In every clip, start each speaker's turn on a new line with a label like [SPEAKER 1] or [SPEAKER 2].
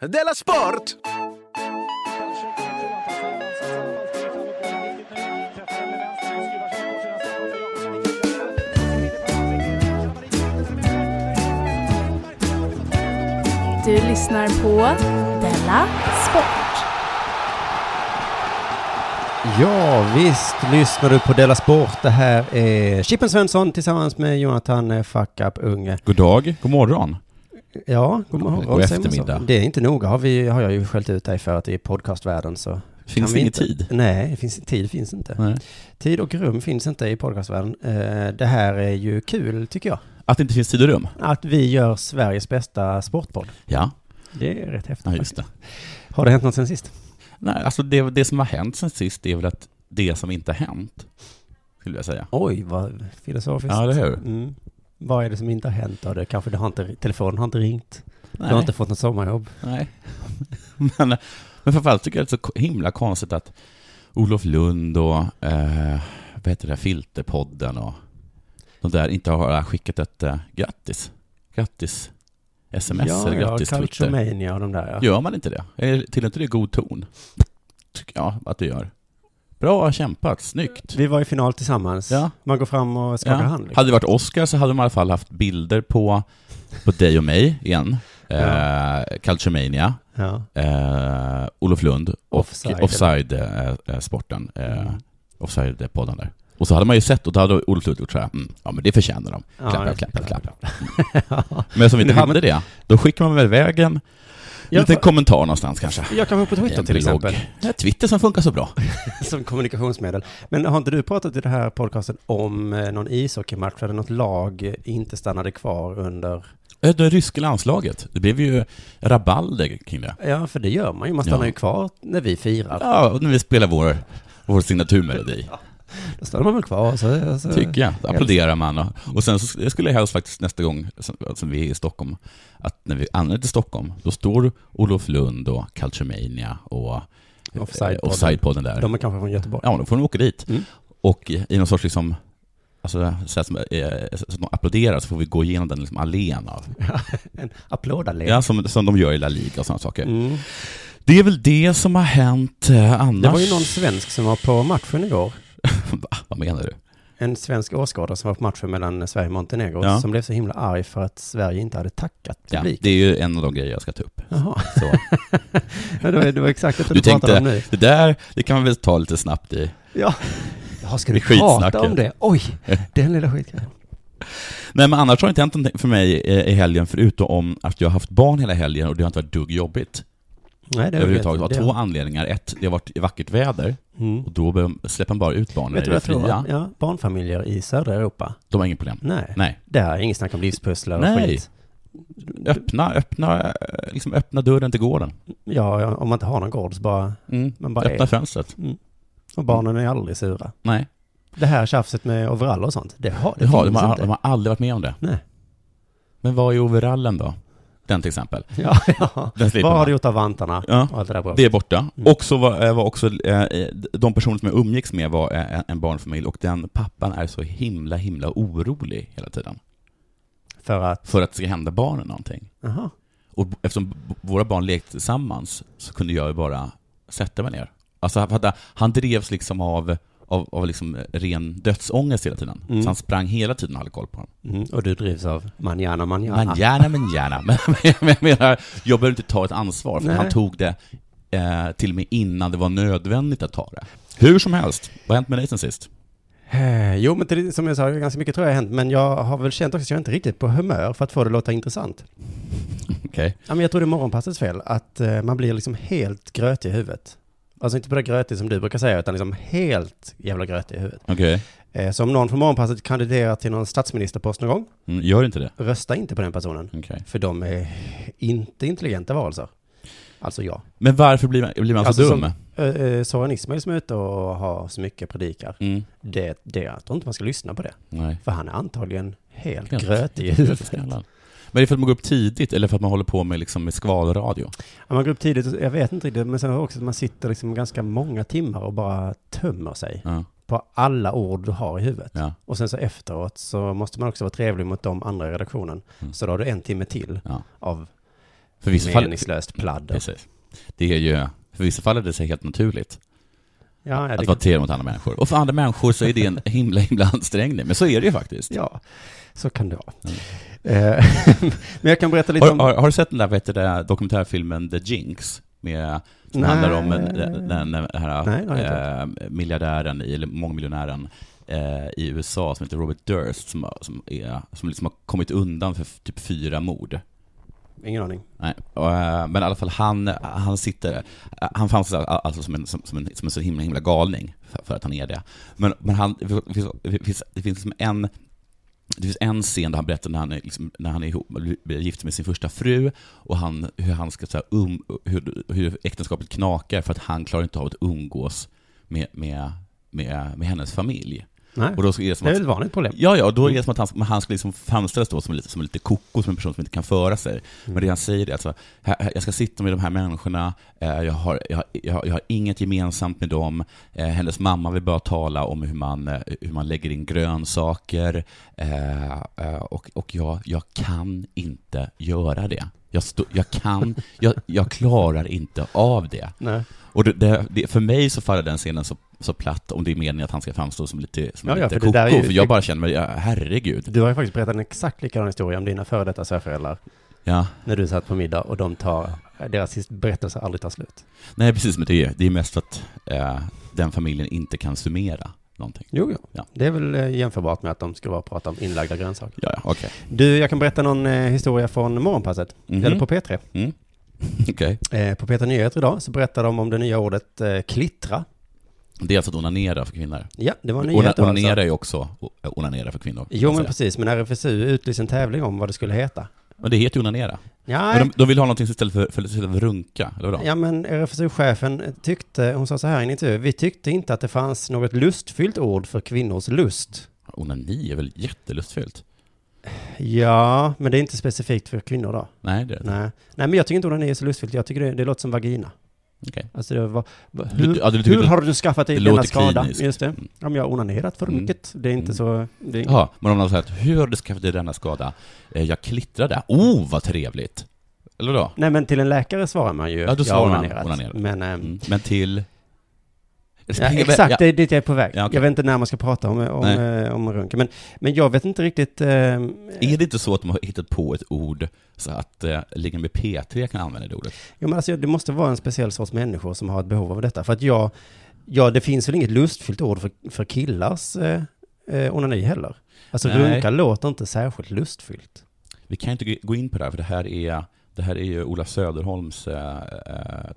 [SPEAKER 1] Della Sport!
[SPEAKER 2] Du lyssnar på Della Sport.
[SPEAKER 3] Ja, visst lyssnar du på Della Sport. Det här är Chippen Svensson tillsammans med Jonathan eh, Fuck Up Unge.
[SPEAKER 4] God dag, god morgon.
[SPEAKER 3] Ja, god morgon.
[SPEAKER 4] God
[SPEAKER 3] säger man så.
[SPEAKER 4] eftermiddag.
[SPEAKER 3] Det är inte noga, har, vi, har jag ju skällt ut dig för att i podcastvärlden så...
[SPEAKER 4] Finns
[SPEAKER 3] kan
[SPEAKER 4] det
[SPEAKER 3] vi
[SPEAKER 4] ingen
[SPEAKER 3] inte-
[SPEAKER 4] tid?
[SPEAKER 3] Nej, det finns, tid finns inte.
[SPEAKER 4] Nej.
[SPEAKER 3] Tid och rum finns inte i podcastvärlden. Eh, Det här är ju kul, tycker jag.
[SPEAKER 4] Att det inte finns tid och rum?
[SPEAKER 3] Att vi gör Sveriges bästa sportpodd.
[SPEAKER 4] Ja,
[SPEAKER 3] Det är rätt häftigt.
[SPEAKER 4] ja just det.
[SPEAKER 3] Har det hänt något sen sist?
[SPEAKER 4] Nej, alltså det, det som har hänt sen sist är väl att det som inte har hänt, skulle jag säga.
[SPEAKER 3] Oj, vad filosofiskt.
[SPEAKER 4] Ja, eller hur?
[SPEAKER 3] Mm. Vad är det som inte har hänt då? Det kanske det har inte, telefonen har inte ringt.
[SPEAKER 4] Nej,
[SPEAKER 3] Du har inte fått något sommarjobb.
[SPEAKER 4] nej. men, men framförallt tycker jag det är så himla konstigt att Olof Lund och eh, vad heter det, Filterpodden och de där inte har skickat ett eh, grattis. Grattis sms eller grattis Twitter.
[SPEAKER 3] Culturemania och de där ja.
[SPEAKER 4] Gör man inte det? Är det- Tillhör inte det god ton? Tycker jag att du gör. Bra kämpat, snyggt.
[SPEAKER 3] Vi var i final tillsammans.
[SPEAKER 4] Ja.
[SPEAKER 3] Man går fram och skakar hand. Liksom.
[SPEAKER 4] Hade det varit Oscar så hade de i alla fall haft bilder på, på dig och mig igen. Eh, Culturemania,
[SPEAKER 3] Ja.
[SPEAKER 4] eh, Olof Lund och
[SPEAKER 3] Offside.
[SPEAKER 4] Offside-sporten. Offside, eh, eh, sporten, eh, Offside-podden där. Och så hade man ju sett, och då hade Olof Lund gjort så här, mm, ja men det förtjänar de.
[SPEAKER 3] Ja,
[SPEAKER 4] Klappa,
[SPEAKER 3] det-
[SPEAKER 4] klappa, klappa. Mm. Men som inte
[SPEAKER 3] Men det-
[SPEAKER 4] hade det, då skickar man väl iväg en
[SPEAKER 3] Jag
[SPEAKER 4] liten
[SPEAKER 3] får-
[SPEAKER 4] kommentar någonstans kanske.
[SPEAKER 3] Jag kan vara på Twitter
[SPEAKER 4] En
[SPEAKER 3] till
[SPEAKER 4] blogg.
[SPEAKER 3] exempel,
[SPEAKER 4] Det är Twitter som funkar så bra.
[SPEAKER 3] som kommunikationsmedel. Men har inte du pratat i det här podcasten om eh, någon ishockeymatch där något lag inte stannade kvar under...
[SPEAKER 4] Eh, Det ryska landslaget, det blev ju rabalder kring det.
[SPEAKER 3] Ja, för det gör man ju. Man stannar
[SPEAKER 4] Ja.
[SPEAKER 3] ju kvar när vi firar.
[SPEAKER 4] Ja, och när vi spelar vår, vår signaturmelodi,
[SPEAKER 3] Då stannar man väl kvar. Så, så...
[SPEAKER 4] tycker jag. Då applåderar man. Och, och sen så sk- skulle jag helst faktiskt nästa gång som, som vi är i Stockholm, att när vi anländer till Stockholm, då står Olof Lund och Culturemania och eh,
[SPEAKER 3] Offside-podden.
[SPEAKER 4] Offside-podden där.
[SPEAKER 3] De är kanske från Göteborg.
[SPEAKER 4] Ja, då får de åka dit.
[SPEAKER 3] Mm.
[SPEAKER 4] Och i i någon sorts liksom, alltså, så, här som, eh, så att de applåderar så får vi gå igenom den liksom allén av,
[SPEAKER 3] En applådallé.
[SPEAKER 4] ja, som, som de gör i La Liga och sådana saker.
[SPEAKER 3] Mm.
[SPEAKER 4] Det är väl det som har hänt eh, annars.
[SPEAKER 3] Det var ju någon svensk som var på matchen igår.
[SPEAKER 4] Va? Vad menar du?
[SPEAKER 3] En svensk åskådare som var på matchen mellan Sverige och Montenegro
[SPEAKER 4] Ja.
[SPEAKER 3] som blev så himla arg för att Sverige inte hade tackat
[SPEAKER 4] Ja,
[SPEAKER 3] publiken.
[SPEAKER 4] det är ju en av de grejer jag ska ta upp.
[SPEAKER 3] Jaha,
[SPEAKER 4] Så,
[SPEAKER 3] det var, det var exakt det du,
[SPEAKER 4] du
[SPEAKER 3] pratade om
[SPEAKER 4] tänkte,
[SPEAKER 3] nu.
[SPEAKER 4] det där, det kan vi väl ta lite snabbt i.
[SPEAKER 3] Ja. Jaha, ska du
[SPEAKER 4] Det är skitsnacket.
[SPEAKER 3] prata om det? Oj, den lilla skitgrejen.
[SPEAKER 4] Nej men annars har det inte hänt någonting för mig eh, i helgen förutom om att jag har haft barn hela helgen och det har inte varit dugg jobbigt.
[SPEAKER 3] Nej, det
[SPEAKER 4] Överhuvudtaget. Det var
[SPEAKER 3] det-
[SPEAKER 4] två anledningar. Ett, det har varit vackert väder
[SPEAKER 3] Mm.
[SPEAKER 4] och då be- släpper man bara ut barnen
[SPEAKER 3] Vet
[SPEAKER 4] i
[SPEAKER 3] du
[SPEAKER 4] det
[SPEAKER 3] vad jag tror?
[SPEAKER 4] fria.
[SPEAKER 3] Ja, barnfamiljer i södra Europa.
[SPEAKER 4] De har inga problem.
[SPEAKER 3] Nej.
[SPEAKER 4] Nej.
[SPEAKER 3] Där är inget snack om livspusslar och
[SPEAKER 4] Nej.
[SPEAKER 3] skit.
[SPEAKER 4] Öppna, öppna, eh, liksom öppna dörren till gården.
[SPEAKER 3] Ja, ja, om man inte har någon gård så bara... Man bara
[SPEAKER 4] öppna
[SPEAKER 3] är.
[SPEAKER 4] fönstret.
[SPEAKER 3] Och barnen är aldrig sura.
[SPEAKER 4] Nej.
[SPEAKER 3] Det här tjafset med overaller och sånt, det, har, det
[SPEAKER 4] Jaha,
[SPEAKER 3] finns
[SPEAKER 4] de, har,
[SPEAKER 3] inte.
[SPEAKER 4] de har aldrig varit med om det.
[SPEAKER 3] Nej.
[SPEAKER 4] Men vad är overallen då? Den till exempel.
[SPEAKER 3] Ja, ja.
[SPEAKER 4] Den slipper
[SPEAKER 3] Vad har
[SPEAKER 4] man.
[SPEAKER 3] du gjort av vantarna?
[SPEAKER 4] Ja.
[SPEAKER 3] Och allt det där bra.
[SPEAKER 4] Det är borta.
[SPEAKER 3] Mm.
[SPEAKER 4] Och så var, eh, var också, eh, de personer som jag umgicks med var eh, en barnfamilj och den pappan är så himla, himla orolig hela tiden.
[SPEAKER 3] För att,
[SPEAKER 4] För att det ska hända barnen någonting.
[SPEAKER 3] jaha.
[SPEAKER 4] Och b- eftersom b- våra barn lekte tillsammans så kunde jag ju bara sätta mig ner. Alltså han- fatta, han drevs liksom av, av, av liksom ren dödsångest hela tiden. Så han sprang hela tiden och hade koll på dem.
[SPEAKER 3] Mm, och du drivs av manjana manjana.
[SPEAKER 4] Men gärna, men gärna. Men, men jag menar, jag behöver inte ta ett ansvar, för
[SPEAKER 3] Nej.
[SPEAKER 4] han tog det eh, till och med innan det var nödvändigt att ta det. Hur som helst, vad har hänt med dig sen sist?
[SPEAKER 3] Eh, Jo, men till, som jag sa, ganska mycket tror jag har hänt, men jag har väl känt också att jag inte riktigt är på humör för att få det att låta intressant.
[SPEAKER 4] Okej.
[SPEAKER 3] Ja, men jag tror det är morgonpassets fel, att eh, man blir liksom helt grötig i huvudet. Alltså inte på det grötig som du brukar säga, utan liksom helt jävla grötig i huvudet.
[SPEAKER 4] Okej.
[SPEAKER 3] Eh, så om någon från morgonpasset kandiderar till någon statsministerpost någon gång,
[SPEAKER 4] Mm, gör inte det.
[SPEAKER 3] rösta inte på den personen.
[SPEAKER 4] Okej.
[SPEAKER 3] För de är inte intelligenta varelser. Alltså jag.
[SPEAKER 4] Men varför blir man, blir man
[SPEAKER 3] Alltså,
[SPEAKER 4] så dum?
[SPEAKER 3] Som, eh, eh, Soran Ismail som är ute och har så mycket predikar.
[SPEAKER 4] Mm.
[SPEAKER 3] Det, det, jag tror inte man ska lyssna på det.
[SPEAKER 4] Nej.
[SPEAKER 3] För han är antagligen helt
[SPEAKER 4] Helt.
[SPEAKER 3] grötig i
[SPEAKER 4] Helt
[SPEAKER 3] huvudet.
[SPEAKER 4] skallar. Men är det för att man går upp tidigt eller för att man håller på med, liksom, med skvalradio?
[SPEAKER 3] Ja, man går upp tidigt, och- jag vet inte riktigt, men sen har jag också att man sitter liksom ganska många timmar och bara tömmer sig
[SPEAKER 4] Ja.
[SPEAKER 3] på alla ord du har i huvudet.
[SPEAKER 4] Ja.
[SPEAKER 3] Och sen så efteråt så måste man också vara trevlig mot de andra i redaktionen. Så då har du en timme till
[SPEAKER 4] Ja.
[SPEAKER 3] av
[SPEAKER 4] Mm. För vissa fall,
[SPEAKER 3] Meningslöst pladder.
[SPEAKER 4] precis. Det är ju, för vissa fall är det sig helt naturligt
[SPEAKER 3] Ja, ja,
[SPEAKER 4] att
[SPEAKER 3] det,
[SPEAKER 4] vara trevlig mot andra människor. Och för andra människor så är det en himla, himla ansträngning. Men så är det ju faktiskt.
[SPEAKER 3] ja, så kan det vara. Eh, Men jag kan berätta lite
[SPEAKER 4] Mm. Har,
[SPEAKER 3] om...
[SPEAKER 4] har, har du sett den där, vet du, där dokumentärfilmen The Jinx? Med, som
[SPEAKER 3] Nej.
[SPEAKER 4] handlar om en, den, den, den här
[SPEAKER 3] Nej, det har jag
[SPEAKER 4] eh, miljardären, i- eller mångmiljonären eh, i USA som heter Robert Durst, som, har- som, är, som liksom har kommit undan för f- typ fyra mord.
[SPEAKER 3] Ingen aning.
[SPEAKER 4] Nej, och, eh, men i alla fall han, han sitter, eh, han fanns al- alltså som en, som, som en, som en så himla, himla galning, för- för att han är det. Men, men han, det finns, det finns, det finns liksom en, det finns en scen där han berättar när han är, liksom, när han är ihop, blir gift med sin första fru och han, hur, han ska, så här, um, hur, hur äktenskapet knakar för att han klarar inte av att umgås med, med, med, med hennes familj.
[SPEAKER 3] Nej,
[SPEAKER 4] Och då så är det som
[SPEAKER 3] det är
[SPEAKER 4] att
[SPEAKER 3] väl ett vanligt problem.
[SPEAKER 4] Ja, ja, och då är det som att han, men han ska liksom framställas då som lite, som lite koko, som en person som inte kan föra sig. Men det han säger är alltså, här- här- jag ska sitta med de här människorna, eh, jag har, jag, har- jag, har- jag har inget gemensamt med dem, eh, hennes mamma vill bara tala om hur man, eh, hur man lägger in grönsaker, eh, eh, och, och jag, jag kan inte göra det. Jag, stå, jag kan, jag, jag klarar inte av det.
[SPEAKER 3] Nej.
[SPEAKER 4] Och det, det, det, för mig så faller den scenen så, så platt om det är meningen att han ska framstå som lite, som
[SPEAKER 3] Ja, ja,
[SPEAKER 4] lite
[SPEAKER 3] för det där är
[SPEAKER 4] koko,
[SPEAKER 3] ju-
[SPEAKER 4] för jag bara känner mig, ja, herregud.
[SPEAKER 3] Du har ju faktiskt berättat en exakt likadan historia om dina före detta svärföräldrar
[SPEAKER 4] Ja.
[SPEAKER 3] när du satt på middag och de tar, deras his- berättelse aldrig tar slut.
[SPEAKER 4] Nej, precis, men det är, det är mest för att eh, den familjen inte kan summera någonting.
[SPEAKER 3] Jo, jo.
[SPEAKER 4] Ja.
[SPEAKER 3] Det är väl eh, jämförbart med att de skulle bara prata om inlagda grönsaker.
[SPEAKER 4] Ja, ja, okej.
[SPEAKER 3] Du, jag kan berätta någon eh, historia från morgonpasset,
[SPEAKER 4] Mhm.
[SPEAKER 3] eller på P3.
[SPEAKER 4] Mm. Okej.
[SPEAKER 3] Eh, på P3 Nyheter idag så berättar de om det nya ordet eh, klittra.
[SPEAKER 4] Det är alltså att onanera för kvinnor.
[SPEAKER 3] Ja, det var en
[SPEAKER 4] Ona,
[SPEAKER 3] nyhet. då
[SPEAKER 4] onanera
[SPEAKER 3] alltså.
[SPEAKER 4] är ju också o- onanera för kvinnor. kan
[SPEAKER 3] Jo,
[SPEAKER 4] man
[SPEAKER 3] men
[SPEAKER 4] säga.
[SPEAKER 3] precis. Men RFSU utlyste en tävling om vad det skulle heta.
[SPEAKER 4] Men det heter ju onanera.
[SPEAKER 3] Ja,
[SPEAKER 4] Men de, de vill ha någonting istället för, för, istället för runka, eller vadå?
[SPEAKER 3] Ja, men RFSU-chefen tyckte, hon sa så här i en intervju, vi tyckte inte att det fanns något lustfyllt ord för kvinnors lust.
[SPEAKER 4] Onani är väl jättelustfyllt?
[SPEAKER 3] Ja, men det är inte specifikt för kvinnor då.
[SPEAKER 4] Nej, det är det inte.
[SPEAKER 3] Nej, Nej men jag tycker inte onani är så lustfyllt. Jag tycker det, det låter som vagina.
[SPEAKER 4] Okej.
[SPEAKER 3] Alltså det var, hur,
[SPEAKER 4] Du- ja, du tycker
[SPEAKER 3] hur
[SPEAKER 4] det-
[SPEAKER 3] har du skaffat dig
[SPEAKER 4] det
[SPEAKER 3] denna
[SPEAKER 4] låter
[SPEAKER 3] skada?
[SPEAKER 4] kliniskt.
[SPEAKER 3] Just det.
[SPEAKER 4] Mm.
[SPEAKER 3] Ja, men jag har onanerat för
[SPEAKER 4] Mm.
[SPEAKER 3] mycket. Det är inte
[SPEAKER 4] Mm.
[SPEAKER 3] så... Det är,
[SPEAKER 4] Ja, men om någon säger att hur har du skaffat dig denna skada? Eh, jag klittrade. Oh, vad trevligt! Eller då?
[SPEAKER 3] Nej, men till en läkare svarar man ju.
[SPEAKER 4] Ja, då
[SPEAKER 3] jag
[SPEAKER 4] svarar
[SPEAKER 3] har
[SPEAKER 4] man
[SPEAKER 3] onanerat.
[SPEAKER 4] onanerat.
[SPEAKER 3] Men, ehm,
[SPEAKER 4] Mm. Men till...
[SPEAKER 3] Ja, exakt, det är dit jag är på väg.
[SPEAKER 4] Ja, okej.
[SPEAKER 3] Jag vet inte när man ska prata om, om,
[SPEAKER 4] Nej.
[SPEAKER 3] eh, om runken. Men, men jag vet inte riktigt... ehm,
[SPEAKER 4] Är det inte så att de har hittat på ett ord så att eh, ligga med P3 kan använda det ordet?
[SPEAKER 3] Ja, men alltså, det måste vara en speciell sorts människor som har ett behov av detta. För att jag, ja, det finns väl inget lustfyllt ord för, för killars eh, eh, onani heller. Alltså
[SPEAKER 4] Nej.
[SPEAKER 3] runka låter inte särskilt lustfyllt.
[SPEAKER 4] Vi kan inte gå in på det här, för det här är, det här är ju Ola Söderholms eh, eh,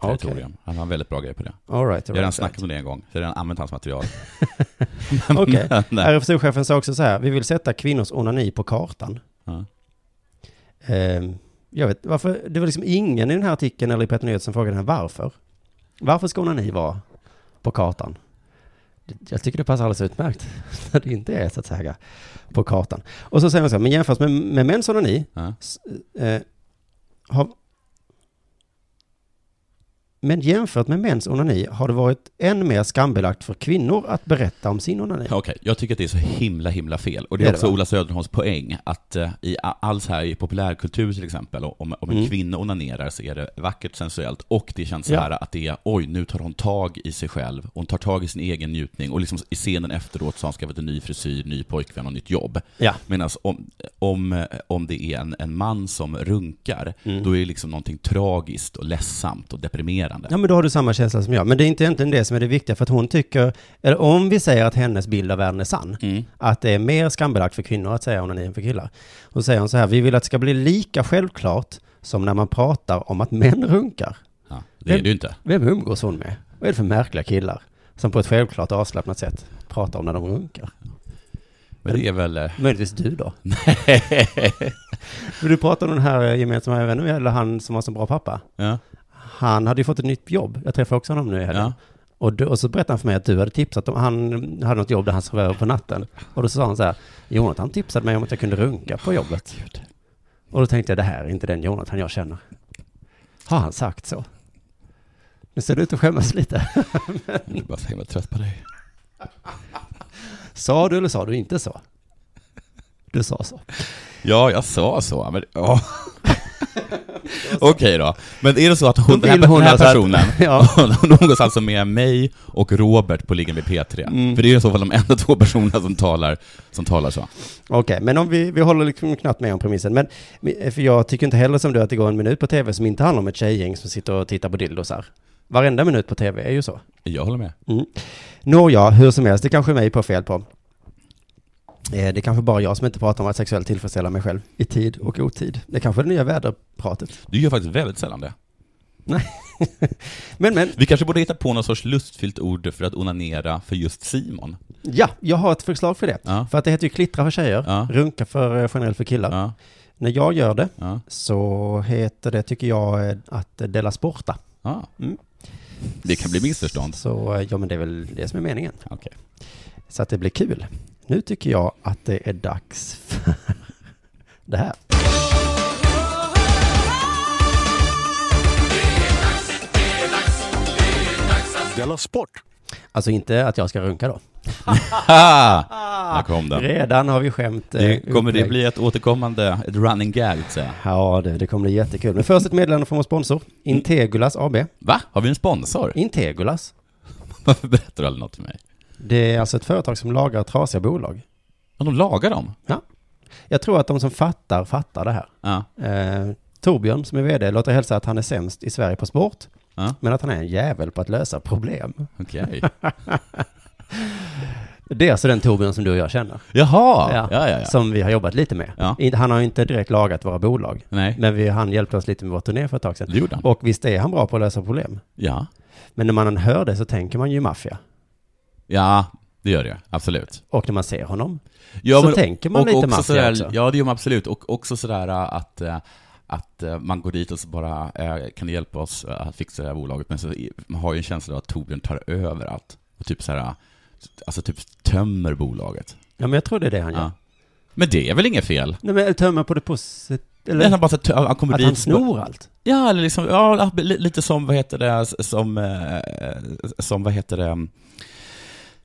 [SPEAKER 4] territorium. Han har en väldigt bra grej på det.
[SPEAKER 3] All right, all
[SPEAKER 4] Jag har redan
[SPEAKER 3] right,
[SPEAKER 4] snackat om det en gång, så jag har redan använt hans material.
[SPEAKER 3] Okej.
[SPEAKER 4] Nej.
[SPEAKER 3] RFSU-chefen sa också så här, vi vill sätta kvinnors onani på kartan.
[SPEAKER 4] Ja.
[SPEAKER 3] Ehm, jag vet, varför, det var liksom ingen i den här artikeln eller i Petter Nyheter som frågade henne varför. Varför ska onani vara på kartan? Det- Jag tycker det passar alldeles utmärkt när det inte är så att säga på kartan. Och så säger man så här, men jämfört med, med mäns onani,
[SPEAKER 4] Ja.
[SPEAKER 3] s- eh, har, men jämfört med mäns onani har det varit än mer skambelagt för kvinnor att berätta om sin onani.
[SPEAKER 4] Okej, jag tycker att det är så himla, himla fel. Och det är,
[SPEAKER 3] Det är det,
[SPEAKER 4] också
[SPEAKER 3] va?
[SPEAKER 4] Ola Söderholms poäng, att eh, i a- all så här i populärkultur till exempel, och om, om en
[SPEAKER 3] Mm.
[SPEAKER 4] kvinna onanerar så är det vackert, sensuellt, och det känns så
[SPEAKER 3] Ja.
[SPEAKER 4] här att det är, oj, nu tar hon tag i sig själv, hon tar tag i sin egen njutning, och liksom i scenen efteråt så har hon skaffat en ny frisyr, ny pojkvän och nytt jobb.
[SPEAKER 3] Ja.
[SPEAKER 4] Medan om, om, om det är en, en man som runkar,
[SPEAKER 3] Mm.
[SPEAKER 4] då är det liksom någonting tragiskt och ledsamt och deprimerande.
[SPEAKER 3] Ja, men då har du samma känsla som jag. Men det är inte egentligen det som är det viktiga, för att hon tycker, eller om vi säger att hennes bild av världen är sann,
[SPEAKER 4] Mm.
[SPEAKER 3] att det är mer skambelagt för kvinnor att säga onani än för killar. Då säger hon så här, vi vill att det ska bli lika självklart som när man pratar om att män runkar.
[SPEAKER 4] Ja, det är
[SPEAKER 3] Men-
[SPEAKER 4] det ju inte.
[SPEAKER 3] Vem umgås hon med? Vad är det för märkliga killar som på ett självklart och avslappnat sätt pratar om när de runkar?
[SPEAKER 4] Men det är väl... eh,
[SPEAKER 3] Möjligtvis du då? För du pratar om den här eh, gemensamma vännen, eller han som var så bra pappa.
[SPEAKER 4] ja,
[SPEAKER 3] Han hade ju fått ett nytt jobb. Jag träffade också honom nu i helgen.
[SPEAKER 4] ja.
[SPEAKER 3] Och, då, och så berättade han för mig att du hade tipsat om, han hade något jobb där han sov över på natten. Och då sa han så här, Jonathan tipsade mig om att jag kunde runka på jobbet. Och då tänkte jag, det här är inte den Jonathan jag känner. Har han sagt så? Nu ser du ut att skämmas lite.
[SPEAKER 4] Jag är bara så himla trött på dig.
[SPEAKER 3] Sa du eller sa du inte så? Du sa så.
[SPEAKER 4] Ja, jag sa så, men ja. Okej då. Men är det så att hon,
[SPEAKER 3] Hon
[SPEAKER 4] den här,
[SPEAKER 3] vill hon
[SPEAKER 4] den här
[SPEAKER 3] här
[SPEAKER 4] personen,
[SPEAKER 3] Ja.
[SPEAKER 4] någonstans alltså med mig och Robert på Ligan vid P3?
[SPEAKER 3] Mm.
[SPEAKER 4] För det är i så fall de enda två personerna som talar, som talar så.
[SPEAKER 3] Okej, men om vi, vi håller liksom knappt med om premissen. Men, för jag tycker inte heller som du att det går en minut på tv som inte handlar om ett tjejgäng som sitter och tittar på dildosar. Varenda minut på tv är ju så.
[SPEAKER 4] Jag håller med.
[SPEAKER 3] Nåja, hur som helst, det kanske är mig på fel på. Eh, Det är kanske bara jag som inte pratar om att sexuellt tillfredsställa mig själv i tid och otid. Det kanske är det nya väderpratet.
[SPEAKER 4] Du gör faktiskt väldigt sällan det.
[SPEAKER 3] Men, men,
[SPEAKER 4] Vi kanske borde hitta på någon sorts lustfyllt ord för att onanera för just Simon.
[SPEAKER 3] ja, jag har ett förslag för det.
[SPEAKER 4] Ja,
[SPEAKER 3] För att det heter ju klittra för tjejer,
[SPEAKER 4] Ja.
[SPEAKER 3] runka för eh, generellt för killar.
[SPEAKER 4] ja,
[SPEAKER 3] När jag gör det
[SPEAKER 4] ja.
[SPEAKER 3] så heter det, tycker jag, eh, att eh, dela sporta.
[SPEAKER 4] ja.
[SPEAKER 3] Mm.
[SPEAKER 4] Det kan bli missförstånd.
[SPEAKER 3] Så, eh, ja men det är väl det som är meningen.
[SPEAKER 4] Okej.
[SPEAKER 3] Så att det blir kul. Nu tycker jag att det är dags för det här.
[SPEAKER 1] Della Sport!
[SPEAKER 3] Alltså inte att jag ska runka då.
[SPEAKER 4] Där kom den.
[SPEAKER 3] Redan har vi skämt. eh,
[SPEAKER 4] Det, kommer det
[SPEAKER 3] Ah. upplägg.
[SPEAKER 4] bli ett återkommande, ett running gag? Så. att säga.
[SPEAKER 3] Ja, det, det kommer bli jättekul. Men först ett meddelande från vår sponsor,
[SPEAKER 4] Mm.
[SPEAKER 3] Integulas AB.
[SPEAKER 4] Va? Har vi en sponsor?
[SPEAKER 3] Integulas,
[SPEAKER 4] Varför berättar du aldrig något för mig?
[SPEAKER 3] det är alltså ett företag som lagar trasiga bolag.
[SPEAKER 4] Ja, de lagar dem?
[SPEAKER 3] Jag tror att de som fattar, fattar det här.
[SPEAKER 4] Ja.
[SPEAKER 3] Eh, Torbjörn, som är vd, låter hälsa att han är sämst i Sverige på sport,
[SPEAKER 4] Ja.
[SPEAKER 3] men att han är en jävel på att lösa problem.
[SPEAKER 4] Okej.
[SPEAKER 3] Det är alltså den Torbjörn som du och jag känner,
[SPEAKER 4] Jaha! Ja, ja, ja.
[SPEAKER 3] som vi har jobbat lite med.
[SPEAKER 4] Ja.
[SPEAKER 3] Inte- Han har ju inte direkt lagat våra bolag,
[SPEAKER 4] Nej,
[SPEAKER 3] men vi, han hjälpte oss lite med vår turné för ett tag sedan.
[SPEAKER 4] det gjorde han.
[SPEAKER 3] Och visst är han bra på att lösa problem.
[SPEAKER 4] Ja.
[SPEAKER 3] Men när man hör det så tänker man ju maffia.
[SPEAKER 4] ja, det gör det. Absolut.
[SPEAKER 3] Och när man ser honom
[SPEAKER 4] Ja,
[SPEAKER 3] så tänker man
[SPEAKER 4] och
[SPEAKER 3] lite
[SPEAKER 4] också
[SPEAKER 3] maffia
[SPEAKER 4] sådär,
[SPEAKER 3] också.
[SPEAKER 4] Ja, det gör man absolut. Och också sådär äh, att, äh, att äh, man går dit och så bara, äh, kan du hjälpa oss äh, att fixa det här bolaget? Men så i- man har ju en känsla av att Torbjörn tar över allt. Och typ såhär, äh, alltså typ tömmer bolaget.
[SPEAKER 3] Ja, men jag tror det är det han gör.
[SPEAKER 4] Ja. Men det är väl inget fel?
[SPEAKER 3] Nej, men tömmer på det positiva.
[SPEAKER 4] Eller,
[SPEAKER 3] Eller
[SPEAKER 4] han, bara, så tö- han kommer
[SPEAKER 3] att
[SPEAKER 4] dit
[SPEAKER 3] han
[SPEAKER 4] och bara-
[SPEAKER 3] snor allt.
[SPEAKER 4] Ja, eller liksom, ja, li- lite som, vad heter det, som, eh, som vad heter det,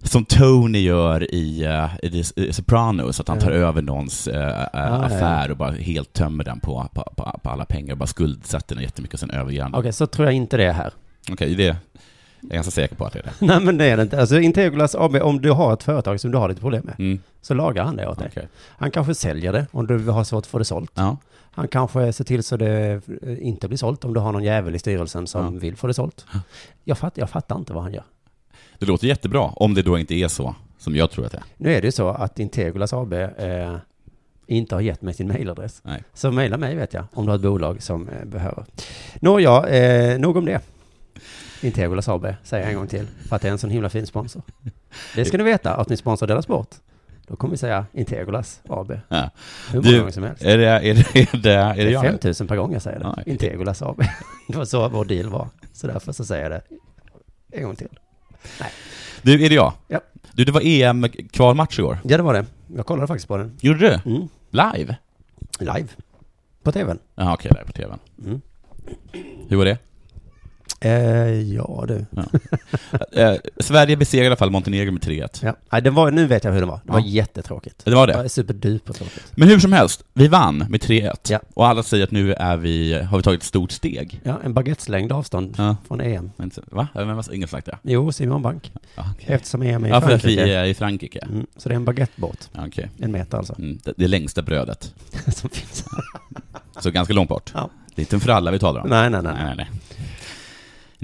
[SPEAKER 4] som Tony gör i, eh, i, The- i Sopranos, att han tar
[SPEAKER 3] Ja.
[SPEAKER 4] över någons eh, eh,
[SPEAKER 3] ja.
[SPEAKER 4] affär och bara helt tömmer den på, på, på, på alla pengar och bara skuldsätter den jättemycket och sen överger han
[SPEAKER 3] Okej,
[SPEAKER 4] den.
[SPEAKER 3] så tror jag inte det är här.
[SPEAKER 4] Okej, det är jag är ganska säker på att det är det.
[SPEAKER 3] Nej, men det är det inte. Alltså, Integulas AB, om du har ett företag som du har lite problem med,
[SPEAKER 4] Mm,
[SPEAKER 3] så lagar han det åt dig.
[SPEAKER 4] okej.
[SPEAKER 3] Han kanske säljer det om du har svårt att få det sålt.
[SPEAKER 4] Ja,
[SPEAKER 3] Han kanske ser till så det eh, inte blir sålt om du har någon jävel i styrelsen som
[SPEAKER 4] Ja.
[SPEAKER 3] vill få det sålt. Jag, fatt, jag fattar inte vad han gör.
[SPEAKER 4] det låter jättebra, om det då inte är så som jag tror att det är.
[SPEAKER 3] Nu är det ju så att Integulas AB eh, inte har gett mig sin mailadress.
[SPEAKER 4] Nej.
[SPEAKER 3] Så mejla mig vet jag, om du har ett bolag som eh, behöver. Nåja, eh, nog om det. Integulas AB, säger jag en gång till, för att det är en sån himla fin sponsor. Det ska ni veta, att ni sponsrar Della Sport. Då kommer vi säga Integulas AB,
[SPEAKER 4] Ja.
[SPEAKER 3] hur många
[SPEAKER 4] Du,
[SPEAKER 3] gånger som helst.
[SPEAKER 4] Är det, är det, är det, är det,
[SPEAKER 3] Det är
[SPEAKER 4] jag?
[SPEAKER 3] 5 000 per gång jag säger det.
[SPEAKER 4] Ja, okej.
[SPEAKER 3] Integulas AB. Det var så vår deal var. Så därför så säger jag det en gång till.
[SPEAKER 4] Du, är det jag?
[SPEAKER 3] Ja.
[SPEAKER 4] Du, det var E EM-kvalmatch igår.
[SPEAKER 3] Ja, det var det. Jag kollade faktiskt på den.
[SPEAKER 4] Gjorde du?
[SPEAKER 3] Mm.
[SPEAKER 4] Live?
[SPEAKER 3] Live. På tvn.
[SPEAKER 4] Ja, okej, där på tvn.
[SPEAKER 3] Mm.
[SPEAKER 4] Hur var det?
[SPEAKER 3] Eh, ja, du.
[SPEAKER 4] Eh, Sverige besegrade i alla fall Montenegro med 3-1.
[SPEAKER 3] Ja. Nej, den var, nu vet jag hur den var. Det var
[SPEAKER 4] Ja.
[SPEAKER 3] jättetråkigt.
[SPEAKER 4] Det var
[SPEAKER 3] Det
[SPEAKER 4] det.
[SPEAKER 3] var superdupertråkigt.
[SPEAKER 4] Men hur som helst, vi vann med 3-1.
[SPEAKER 3] Ja.
[SPEAKER 4] Och alla säger att nu är vi, har vi tagit ett stort steg.
[SPEAKER 3] Ja, en baguetteslängd avstånd
[SPEAKER 4] Ja.
[SPEAKER 3] från EM.
[SPEAKER 4] Men så- Va? Ja, Men vad- ingen sagt det?
[SPEAKER 3] Jo, Simon Bank.
[SPEAKER 4] Ja, okej.
[SPEAKER 3] Eftersom EM är i
[SPEAKER 4] Ja, för att
[SPEAKER 3] Frankrike.
[SPEAKER 4] vi är i Frankrike.
[SPEAKER 3] Mm, så det är en baguette bort.
[SPEAKER 4] Ja, okej.
[SPEAKER 3] En meter alltså.
[SPEAKER 4] Mm, det, det längsta brödet.
[SPEAKER 3] Som finns.
[SPEAKER 4] Så ganska långt bort.
[SPEAKER 3] Ja.
[SPEAKER 4] Det är inte en fralla vi talar om.
[SPEAKER 3] Nej, nej, nej.
[SPEAKER 4] nej, nej.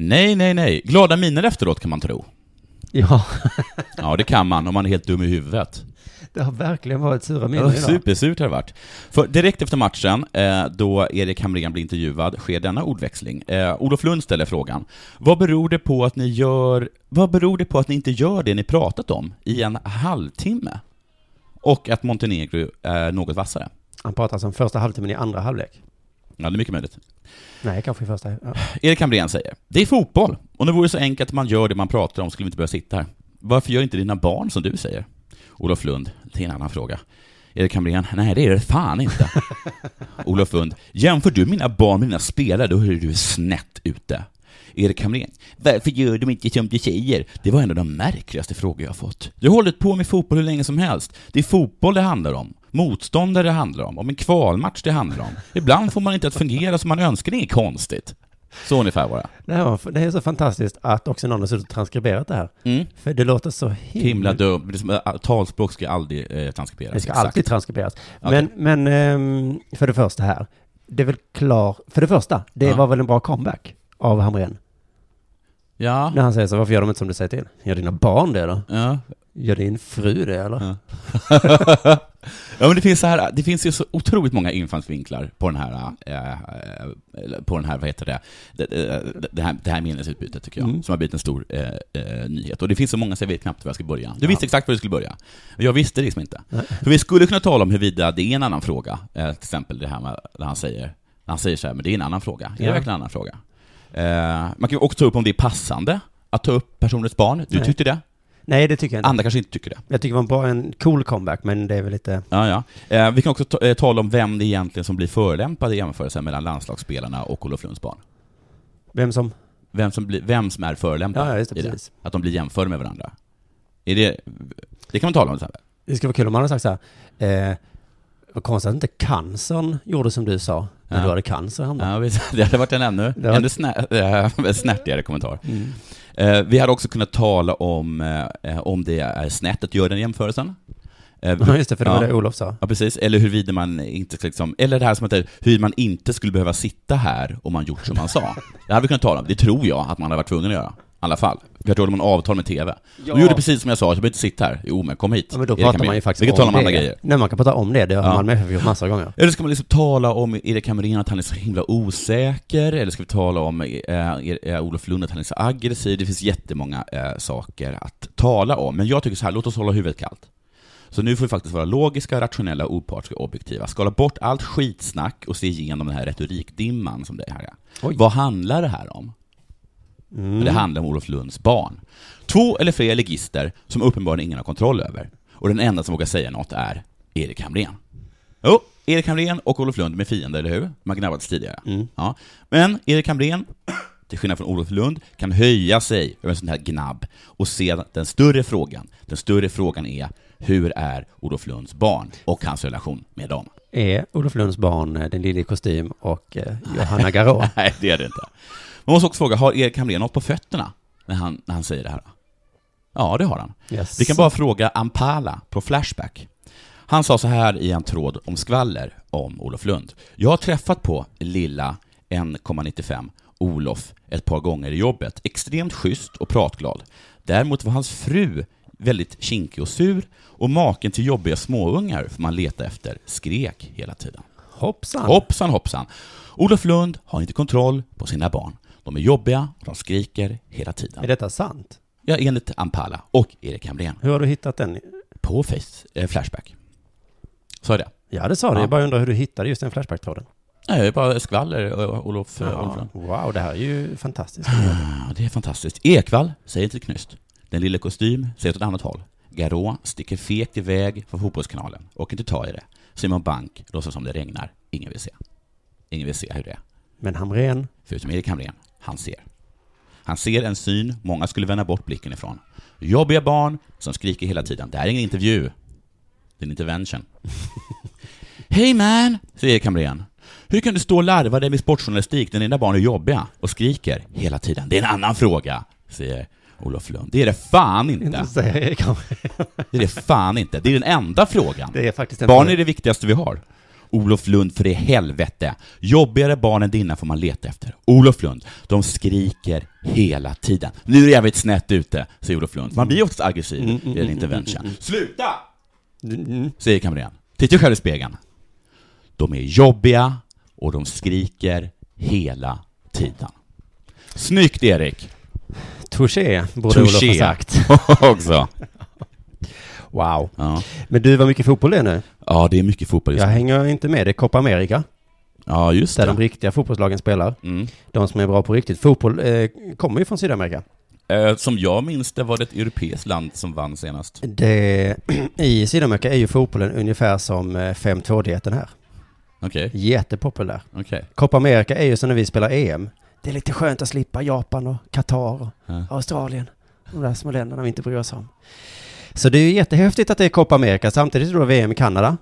[SPEAKER 4] Nej, nej, nej. Glada miner efteråt kan man tro.
[SPEAKER 3] Ja,
[SPEAKER 4] Ja, det kan man om man är helt dum i huvudet.
[SPEAKER 3] det har verkligen varit sura minnen
[SPEAKER 4] Ja,
[SPEAKER 3] idag.
[SPEAKER 4] supersurt har det varit. För direkt efter matchen, eh, då Erik Hamrén blir intervjuad, sker denna ordväxling. Eh, Olof Lund ställer frågan, vad beror det på att ni gör, vad beror det på att ni inte gör det ni pratat om i en halvtimme? Och att Montenegro är något vassare.
[SPEAKER 3] Han pratar alltså om första halvtimmen i andra halvlek.
[SPEAKER 4] Ja, det är mycket möjligt.
[SPEAKER 3] Nej, kanske i första. Ja.
[SPEAKER 4] Erik Hamrén säger, det är fotboll. Om det vore så enkelt att man gör det man pratar om skulle vi inte behöva sitta här. Varför gör inte dina barn som du säger? Olof Lund, det är en annan fråga. Erik Hamrén, nej det är det fan inte. Olof Lund, jämför du mina barn med mina spelare, då är du snett ute. Erik Hamrén, varför gör de inte som du säger? Det var en av de märkligaste frågor jag har fått. Jag har hållit på med fotboll hur länge som helst. Det är fotboll det handlar om. motståndare det handlar om, om en kvalmatch det handlar om. Ibland får man inte att fungera som man önskar, det är inget konstigt. Så ungefär var det.
[SPEAKER 3] Det, här var, det är så fantastiskt att också någon har suttit och transkriberat det här.
[SPEAKER 4] Mm.
[SPEAKER 3] För det låter så himla...
[SPEAKER 4] Himla dumt, Det är som, äh, talspråk ska aldrig eh, transkriberas.
[SPEAKER 3] Det ska
[SPEAKER 4] Exakt.
[SPEAKER 3] alltid transkriberas.
[SPEAKER 4] Okej.
[SPEAKER 3] Men, men ehm, för det första här, det är väl klar... För det första, det
[SPEAKER 4] Ja.
[SPEAKER 3] var väl en bra comeback av Hamrén?
[SPEAKER 4] Ja.
[SPEAKER 3] När han säger så, varför gör de inte som du säger till? Gör dina barn det då?
[SPEAKER 4] ja.
[SPEAKER 3] Gör din fru det eller?
[SPEAKER 4] Ja. ja, men det finns, så här, det finns ju så otroligt många infallsvinklar på den här, eh, eh, på den här vad heter det, det, eh, det, det, här, det här meningsutbytet tycker jag,
[SPEAKER 3] Mm.
[SPEAKER 4] som har blivit en stor eh, eh, nyhet. Och det finns så många så jag vet knappt var jag ska börja. Du visste exakt var du skulle börja. Jag visste det liksom inte. För vi skulle kunna tala om huruvida det är en annan fråga, eh, till exempel det här med, när han säger, när han säger så här, men det är en annan fråga. Är
[SPEAKER 3] Ja.
[SPEAKER 4] det verkligen en annan fråga? Eh, man kan ju också ta upp om det är passande att ta upp personens barn. Du
[SPEAKER 3] Nej.
[SPEAKER 4] tyckte det.
[SPEAKER 3] Nej, det tycker jag inte.
[SPEAKER 4] Andra kanske inte tycker det.
[SPEAKER 3] Jag tycker det var en bra, en cool comeback, men det är väl lite...
[SPEAKER 4] Ja, ja. Eh, vi kan också ta- eh, tala om vem det egentligen som blir förolämpad i jämförelsen mellan landslagsspelarna och Olof Lunds barn.
[SPEAKER 3] Vem som...
[SPEAKER 4] Vem som, blir, vem som är förolämpad
[SPEAKER 3] Ja, ja, just det,
[SPEAKER 4] i det.
[SPEAKER 3] precis.
[SPEAKER 4] Att de blir jämförda med varandra. Är det, det kan man tala om till exempel.
[SPEAKER 3] Det skulle vara kul om man hade sagt så här, eh, vad konstigt att inte cancern gjorde som du sa, när
[SPEAKER 4] Ja.
[SPEAKER 3] du hade cancer Hamrén.
[SPEAKER 4] Ja, visst. det hade varit en ännu,
[SPEAKER 3] Mm. Det var-
[SPEAKER 4] ännu snä, eh, snärtigare kommentar.
[SPEAKER 3] Mm.
[SPEAKER 4] Eh, vi hade också kunnat tala om eh, eh, om det är snett att göra den jämförelsen. Eh,
[SPEAKER 3] Ja, just det, för det var
[SPEAKER 4] Ja.
[SPEAKER 3] det Olof sa.
[SPEAKER 4] Ja, precis. Eller huruvida man inte ska liksom, eller det här som heter hur man inte skulle behöva sitta här om man gjort som man sa. Det hade vi kunnat tala om. Det tror jag att man hade varit tvungen att göra. I alla fall. För jag tror att man avtal med TV.
[SPEAKER 3] Ja.
[SPEAKER 4] Du gjorde precis som jag sa, jag behöver inte sitta här. Jo, men kom hit.
[SPEAKER 3] Ja, men då
[SPEAKER 4] Erik
[SPEAKER 3] pratar
[SPEAKER 4] Hamrén.
[SPEAKER 3] man ju faktiskt
[SPEAKER 4] Vi kan tala om
[SPEAKER 3] det.
[SPEAKER 4] andra grejer.
[SPEAKER 3] Nej, man kan prata om det. Det har
[SPEAKER 4] Ja.
[SPEAKER 3] Malmö FF gjort massor av gånger.
[SPEAKER 4] Eller ska man liksom tala om Erik Hamrén att han är så himla osäker? Eller ska vi tala om eh, er- eh, Olof Lund att han är så aggressiv? Det finns jättemånga eh, saker att tala om. Men jag tycker så här, låt oss hålla huvudet kallt. Så nu får vi faktiskt vara logiska, rationella, opartiska och objektiva. Skala bort allt skitsnack och se igenom den här retorikdimman som det här är.
[SPEAKER 3] Oj.
[SPEAKER 4] Vad handlar det här om? Men Det handlar om Olof Lunds barn. Två eller fler legister som uppenbarligen ingen har kontroll över. Och den enda som vågar säga något är Erik Hamrén. Jo, Erik Hamrén och Olof Lund med fiender, eller hur? Man gnabbats tidigare. Ja. Men Erik Hamrén, till skillnad från Olof Lund, kan höja sig över en sån här gnabb och se den större frågan. Den större frågan är, hur är Olof Lunds barn och hans relation med dem?
[SPEAKER 3] Är Olof Lunds barn eh, den lille i kostym och eh, Johanna Garå?
[SPEAKER 4] Nej, det är det inte. Man måste också fråga, har Erik Hamrén något på fötterna när han, när han säger det här? Ja, det har han.
[SPEAKER 3] Yes.
[SPEAKER 4] Vi kan bara fråga Ampala på Flashback. Han sa så här i en tråd om skvaller om Olof Lund. Jag har träffat på lilla 1,95 Olof ett par gånger i jobbet. Extremt schysst och pratglad. Däremot var hans fru väldigt kinkig och sur och maken till jobbiga småungar som man letade efter skrek hela tiden.
[SPEAKER 3] Hoppsan!
[SPEAKER 4] Hoppsan hoppsan. Olof Lund har inte kontroll på sina barn. De är jobbiga, de skriker hela
[SPEAKER 3] Är
[SPEAKER 4] tiden.
[SPEAKER 3] detta sant?
[SPEAKER 4] Ja, enligt Ampala och Erik Hamrén
[SPEAKER 3] Hur har du hittat den?
[SPEAKER 4] på face, eh, Flashback. Sa jag det?
[SPEAKER 3] Ja, det sa du.
[SPEAKER 4] Ja.
[SPEAKER 3] Jag bara undrar hur du hittade just den Flashback-tråden.
[SPEAKER 4] Nej, det är bara skvaller, eh, Olof eh, Olof Lund.
[SPEAKER 3] Wow, det här är ju fantastiskt.
[SPEAKER 4] Ah, Det är fantastiskt. Ekvall säger inte knyst. Den lilla kostym säger åt ett annat håll. Garå sticker fegt iväg från fotbollskanalen. Och inte ta i det. Simon Bank låtsas som det regnar. Ingen vill se. Ingen vill se hur det är.
[SPEAKER 3] Men Hamrén,
[SPEAKER 4] Förutom Erik Hamrén, han ser. Han ser en syn många skulle vända bort blicken ifrån. Jobbiga barn som skriker hela tiden. Det här är ingen intervju. Det är en intervention. Hej man, säger Erik Hamrén. Hur kan du stå och larva dig med sportjournalistik när dina barn är jobbiga och skriker hela tiden? Det är en annan fråga, säger Olof Lund. Det är det fan inte.
[SPEAKER 3] inte säger Erik Hamrén.
[SPEAKER 4] Det är det fan inte. Det är den enda frågan.
[SPEAKER 3] Det är faktiskt en
[SPEAKER 4] Barn är det viktigaste vi har. Olof Lund, för i helvete. Jobbigare barn än dina får man leta efter. Olof Lund, de skriker hela tiden. Nu är det jävligt snett ute, säger Olof Lund. Man blir oftast aggressiv
[SPEAKER 3] Mm,
[SPEAKER 4] i en intervention. Sluta! Säger kamrern. Titta själv i spegeln. De är jobbiga och de skriker hela tiden. Snyggt Erik!
[SPEAKER 3] Touché, borde Olof ha sagt.
[SPEAKER 4] också.
[SPEAKER 3] Wow.
[SPEAKER 4] Ja.
[SPEAKER 3] Men du, var mycket fotboll det är nu.
[SPEAKER 4] ja, det är mycket fotboll just
[SPEAKER 3] Jag
[SPEAKER 4] nu.
[SPEAKER 3] hänger inte med. Det är Copa America,
[SPEAKER 4] Ja, just
[SPEAKER 3] där de
[SPEAKER 4] det.
[SPEAKER 3] riktiga fotbollslagen spelar.
[SPEAKER 4] Mm.
[SPEAKER 3] De som är bra på riktigt. Fotboll eh, kommer ju från Sydamerika.
[SPEAKER 4] Eh, Som jag minns det var det ett europeiskt land som vann senast.
[SPEAKER 3] Det, I Sydamerika är ju fotbollen ungefär som eh, 5-2-dieten här.
[SPEAKER 4] Okej,
[SPEAKER 3] Jättepopulär.
[SPEAKER 4] okej.
[SPEAKER 3] Copa America är ju som när vi spelar EM. Det är lite skönt att slippa Japan och Qatar och
[SPEAKER 4] Ja.
[SPEAKER 3] Australien. De där små länderna vi inte bryr oss om. Så det är ju jättehäftigt att det är Copa America. Samtidigt är det då VM i Kanada.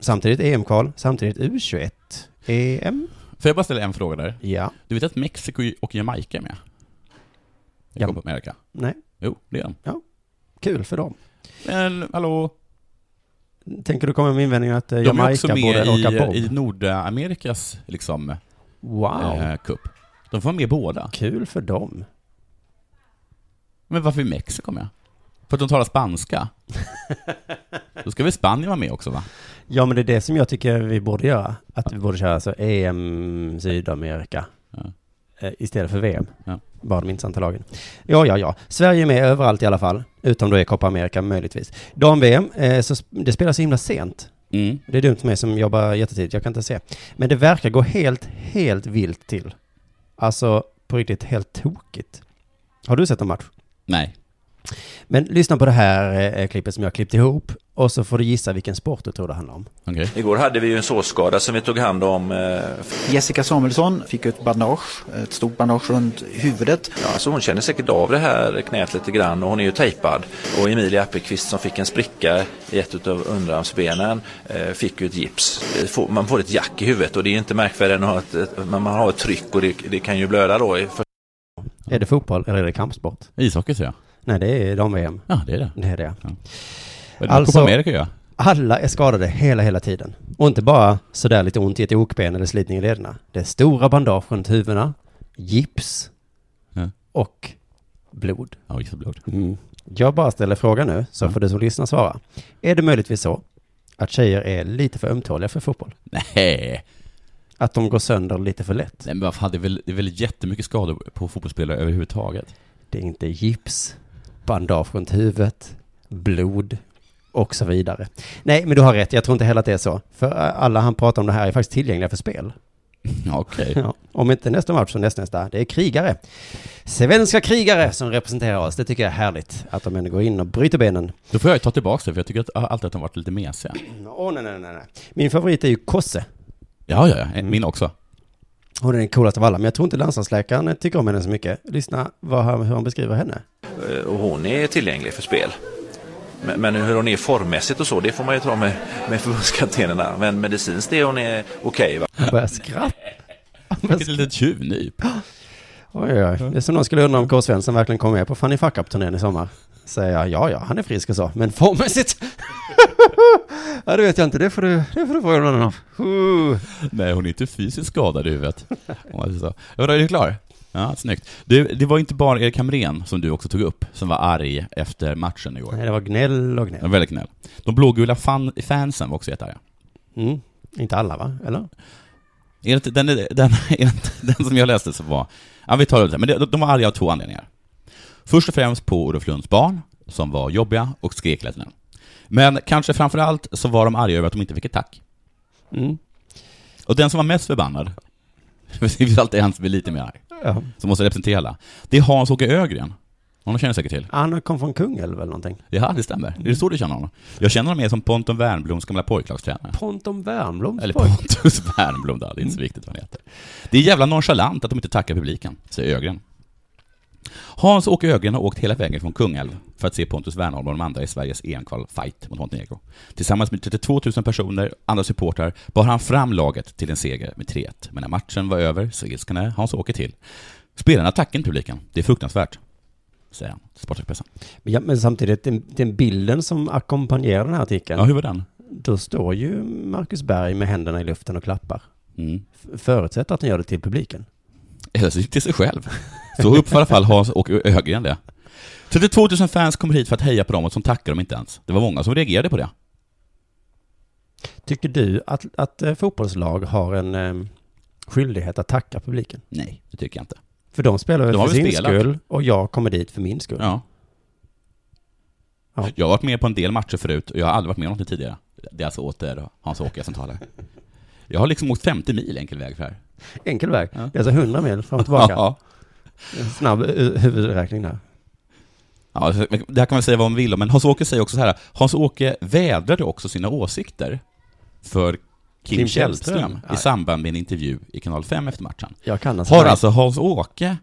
[SPEAKER 3] Samtidigt EM-kval, samtidigt U21. EM?
[SPEAKER 4] Får jag bara ställa en fråga där?
[SPEAKER 3] Ja.
[SPEAKER 4] Du vet att Mexiko och Jamaica är med? I
[SPEAKER 3] Ja.
[SPEAKER 4] Copa America?
[SPEAKER 3] Nej.
[SPEAKER 4] Jo, det är de.
[SPEAKER 3] Kul för dem.
[SPEAKER 4] Men hallå?
[SPEAKER 3] Tänker du komma med invändningen att eh,
[SPEAKER 4] de är också
[SPEAKER 3] Jamaica borde
[SPEAKER 4] med
[SPEAKER 3] åka bob?
[SPEAKER 4] i, i Nordamerikas liksom,
[SPEAKER 3] Wow.
[SPEAKER 4] eh, cup. De får vara med båda.
[SPEAKER 3] Kul för dem.
[SPEAKER 4] Men varför är Mexiko med? För att de talar spanska? Då ska väl Spanien vara med också va?
[SPEAKER 3] Ja, men det är det som jag tycker vi borde göra. Att vi borde köra så EM Sydamerika.
[SPEAKER 4] Ja.
[SPEAKER 3] Eh, Istället för VM.
[SPEAKER 4] Ja.
[SPEAKER 3] Bara de intressanta lagen. Ja, ja, ja. Sverige är med överallt i alla fall. Utom då i Copa America möjligtvis. Dam-VM, eh, så sp- det spelas så himla sent.
[SPEAKER 4] Mm.
[SPEAKER 3] Det är dumt för mig som jobbar jättetidigt, jag kan inte se. Men det verkar gå helt, helt vilt till. Alltså, på riktigt helt tokigt. Har du sett en match?
[SPEAKER 4] Nej.
[SPEAKER 3] Men lyssna på det här eh, klippet som jag klippt ihop. Och så får du gissa vilken sport du tror det handlar om.
[SPEAKER 4] Okej.
[SPEAKER 5] Igår hade vi ju en såsskada som vi tog hand om. eh,
[SPEAKER 6] Jessica Samuelsson fick ett bandage, ett stort bandage runt huvudet.
[SPEAKER 5] Ja, alltså hon känner säkert av det här knät lite grann och hon är ju tejpad. Och Emilia Appelqvist som fick en spricka i ett av underarmsbenen eh, fick ju ett gips. Eh, får- Man får ett jack i huvudet och det är ju inte märkvärre än att ha ett- ett- man man har ett tryck och det, det kan ju blöda då. i för-
[SPEAKER 3] Är det fotboll eller är det kampsport?
[SPEAKER 4] Ishockey säger jag.
[SPEAKER 3] Nej, det är dam-VM.
[SPEAKER 4] Ja, det är det.
[SPEAKER 3] Det är det.
[SPEAKER 4] Vad är det
[SPEAKER 3] Alltså-
[SPEAKER 4] Copa America gör?
[SPEAKER 3] Alla är skadade hela, hela tiden. Och inte bara sådär lite ont i ett okben eller slitning i lederna. Det är stora bandage runt huvudena, gips
[SPEAKER 4] Ja.
[SPEAKER 3] och blod.
[SPEAKER 4] Ja, just blod.
[SPEAKER 3] Mm. Jag bara ställer frågan nu, så får du som lyssnar svara. Är det möjligtvis så att tjejer är lite för ömtåliga för fotboll?
[SPEAKER 4] Nej.
[SPEAKER 3] Att de går sönder lite för lätt?
[SPEAKER 4] Nej men vad fan, det är väl, det är väl jättemycket skador på fotbollsspelare överhuvudtaget.
[SPEAKER 3] Det är inte gips, bandage runt huvudet, blod och så vidare. Nej, men du har rätt. Jag tror inte heller att det är så. För eh, alla han pratar om det här är faktiskt tillgängliga för spel.
[SPEAKER 4] Ja, Okej.
[SPEAKER 3] Ja. Om inte nästa match så nästnästa. Det är krigare. Svenska krigare som representerar oss. Det tycker jag är härligt. Att de ändå går in och bryter benen.
[SPEAKER 4] Då får jag ta tillbaka det, för jag tycker att, alltid att de varit lite mesiga.
[SPEAKER 3] Åh, nej, nej, nej, nej. Min favorit är ju Kosse.
[SPEAKER 4] Ja, ja, ja. Min också.
[SPEAKER 3] Hon är den coolaste av alla, men jag tror inte landslagsläkaren tycker om henne så mycket. Lyssna vad han, hur han beskriver henne.
[SPEAKER 5] eh, Och hon är tillgänglig för spel. Men, men hur hon är formmässigt och så, det får man ju ta med, med förbundskaptenerna. Men medicinskt är hon är okej. va?
[SPEAKER 3] Han börjar skratta. Han börjar
[SPEAKER 4] Vilket litet tjuvnyp.
[SPEAKER 3] Oj, oj,
[SPEAKER 4] Mm.
[SPEAKER 3] oj. Det är som någon skulle undra om K. Svensson verkligen kommer med på Fanny Fuck Up-turnén i sommar. Säger jag, ja, ja, han är frisk och så, men formmässigt... ja, det vet jag inte, det får du, det får du fråga någon annan om. Uh.
[SPEAKER 4] Nej, hon är inte fysiskt skadad i huvudet. Om man säger så. Ja, då är du klar? Ja, snyggt. Du, det var inte bara Erik Hamrén som du också tog upp, som var arg efter matchen igår.
[SPEAKER 3] Nej, det var gnäll och
[SPEAKER 4] Det var
[SPEAKER 3] gnäll.
[SPEAKER 4] väldigt knäll. De blågula fan, fansen var också jättearga.
[SPEAKER 3] Mm. Inte alla, va? Eller?
[SPEAKER 4] Enligt den, den, enligt den som jag läste så var, ja vi tar det lite, men det, de var arga av två anledningar. Först och främst på Olof Lunds barn, som var jobbiga och skrek lätt nu. Men kanske framför allt så var de arga över att de inte fick ett tack.
[SPEAKER 3] Mm.
[SPEAKER 4] Och den som var mest förbannad, det finns alltid en som är lite mer arg,
[SPEAKER 3] Ja.
[SPEAKER 4] som måste representera alla, det är Hans-Åke Ögren. Honom känner jag säkert till.
[SPEAKER 3] Ah, Han kom från Kungälv eller någonting.
[SPEAKER 4] Ja, det stämmer. Är det så du känner honom? Jag känner honom mer som Ponton Wernbloms gamla pojklagstränare.
[SPEAKER 3] Ponton Wernbloms
[SPEAKER 4] Eller
[SPEAKER 3] pojk.
[SPEAKER 4] Pontus Wernbloom då, det är inte så viktigt vad han heter. Det är jävla nonchalant att de inte tackar publiken, säger Ögren. Hans-Åke Ögren har åkt hela vägen från Kungälv för att se Pontus Wernholm och de andra i Sveriges EM-kval-fight mot Montenegro. Tillsammans med 32 000 personer, andra supportrar, bar han fram laget till en seger med 3-1. Men när matchen var över så ilsknade Hans-Åke till. Spelarna tackar inte publiken, det är fruktansvärt, säger han till Sportexpressen.
[SPEAKER 3] Men Ja, men samtidigt, den, den bilden som ackompanjerar den här artikeln,
[SPEAKER 4] Ja, hur var den?
[SPEAKER 3] då står ju Marcus Berg med händerna i luften och klappar.
[SPEAKER 4] Mm.
[SPEAKER 3] F- Förutsätter att han gör det till publiken.
[SPEAKER 4] Eller så till sig själv. Så uppfattar i alla fall Hans och Ögren det. 32 000 fans kommer hit för att heja på dem och som tackar dem inte ens. Det var många som reagerade på det.
[SPEAKER 3] Tycker du att, att eh, fotbollslag har en eh, skyldighet att tacka publiken?
[SPEAKER 4] Nej, det tycker jag inte.
[SPEAKER 3] För de spelar väl
[SPEAKER 4] De har
[SPEAKER 3] för
[SPEAKER 4] väl
[SPEAKER 3] sin
[SPEAKER 4] spelat.
[SPEAKER 3] skull och jag kommer dit för min skull.
[SPEAKER 4] Ja.
[SPEAKER 3] Ja.
[SPEAKER 4] Jag har varit med på en del matcher förut och jag har aldrig varit med om någonting tidigare. Det är alltså åter Hans-Åke som talar. Jag har liksom åkt 50 mil enkel väg för det här.
[SPEAKER 3] Enkel väg.
[SPEAKER 4] Ja.
[SPEAKER 3] Det är alltså 100 mil fram och tillbaka.
[SPEAKER 4] Ja.
[SPEAKER 3] En Snabb eh, huvudräkning där.
[SPEAKER 4] Ja, det här kan man säga vad man vill om, men Hans-Åke säger också så här, Hans-Åke vädrade också sina åsikter för Kim,
[SPEAKER 3] Kim Källström.
[SPEAKER 4] Källström,
[SPEAKER 3] Ja.
[SPEAKER 4] i samband med en intervju i Kanal 5 efter matchen.
[SPEAKER 3] Jag kan alltså...
[SPEAKER 4] Har alltså Hans-Åke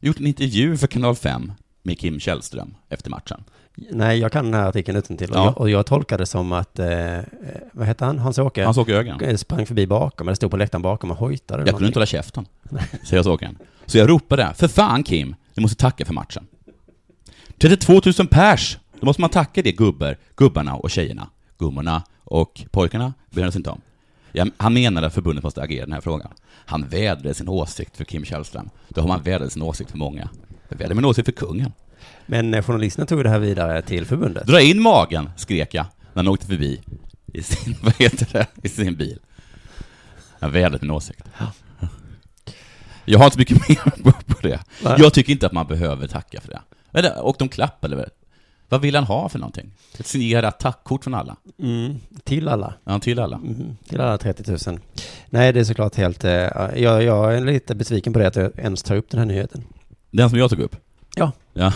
[SPEAKER 4] gjort en intervju för Kanal 5 med Kim Källström efter matchen?
[SPEAKER 3] Nej, jag kan den här artikeln utantill.
[SPEAKER 4] Ja.
[SPEAKER 3] Ja. Och jag tolkar det som att, eh, eh, vad heter han, Hans-Åke?
[SPEAKER 4] Han såg ögonen.
[SPEAKER 3] Eh, sprang förbi bakom, eller stod på läktaren bakom och hojtade. eller
[SPEAKER 4] Jag kunde inte
[SPEAKER 3] någonting.
[SPEAKER 4] hålla käften, säger sågen. Så jag ropade, för fan Kim, du måste tacka för matchen. 32 000 pers! Då måste man tacka det gubbar, gubbarna och tjejerna. Gummorna och pojkarna bryr han sig inte om. Jag, han menade att förbundet måste agera i den här frågan. Han vädrade sin åsikt för Kim Källström. Då har man vädrat sin åsikt för många. Jag vädrade min åsikt för kungen.
[SPEAKER 3] Men eh, journalisterna tog det här vidare till förbundet.
[SPEAKER 4] Dra in magen, skrek jag när han åkte förbi i sin, vad heter det, i sin bil. Jag vädrat min åsikt. Jag har inte mycket mer på- på det.
[SPEAKER 3] Nej.
[SPEAKER 4] Jag tycker inte att man behöver tacka för det. Eller, och de klappade väl. Vad vill han ha för någonting? Ett signerat tackkort från alla?
[SPEAKER 3] Mm. Till alla.
[SPEAKER 4] Ja, till alla.
[SPEAKER 3] Mhm, Till alla 30 000. Nej, det är såklart helt... Eh, jag, jag är lite besviken på det att jag ens tar upp den här nyheten.
[SPEAKER 4] Den som jag tog upp?
[SPEAKER 3] Ja.
[SPEAKER 4] Ja,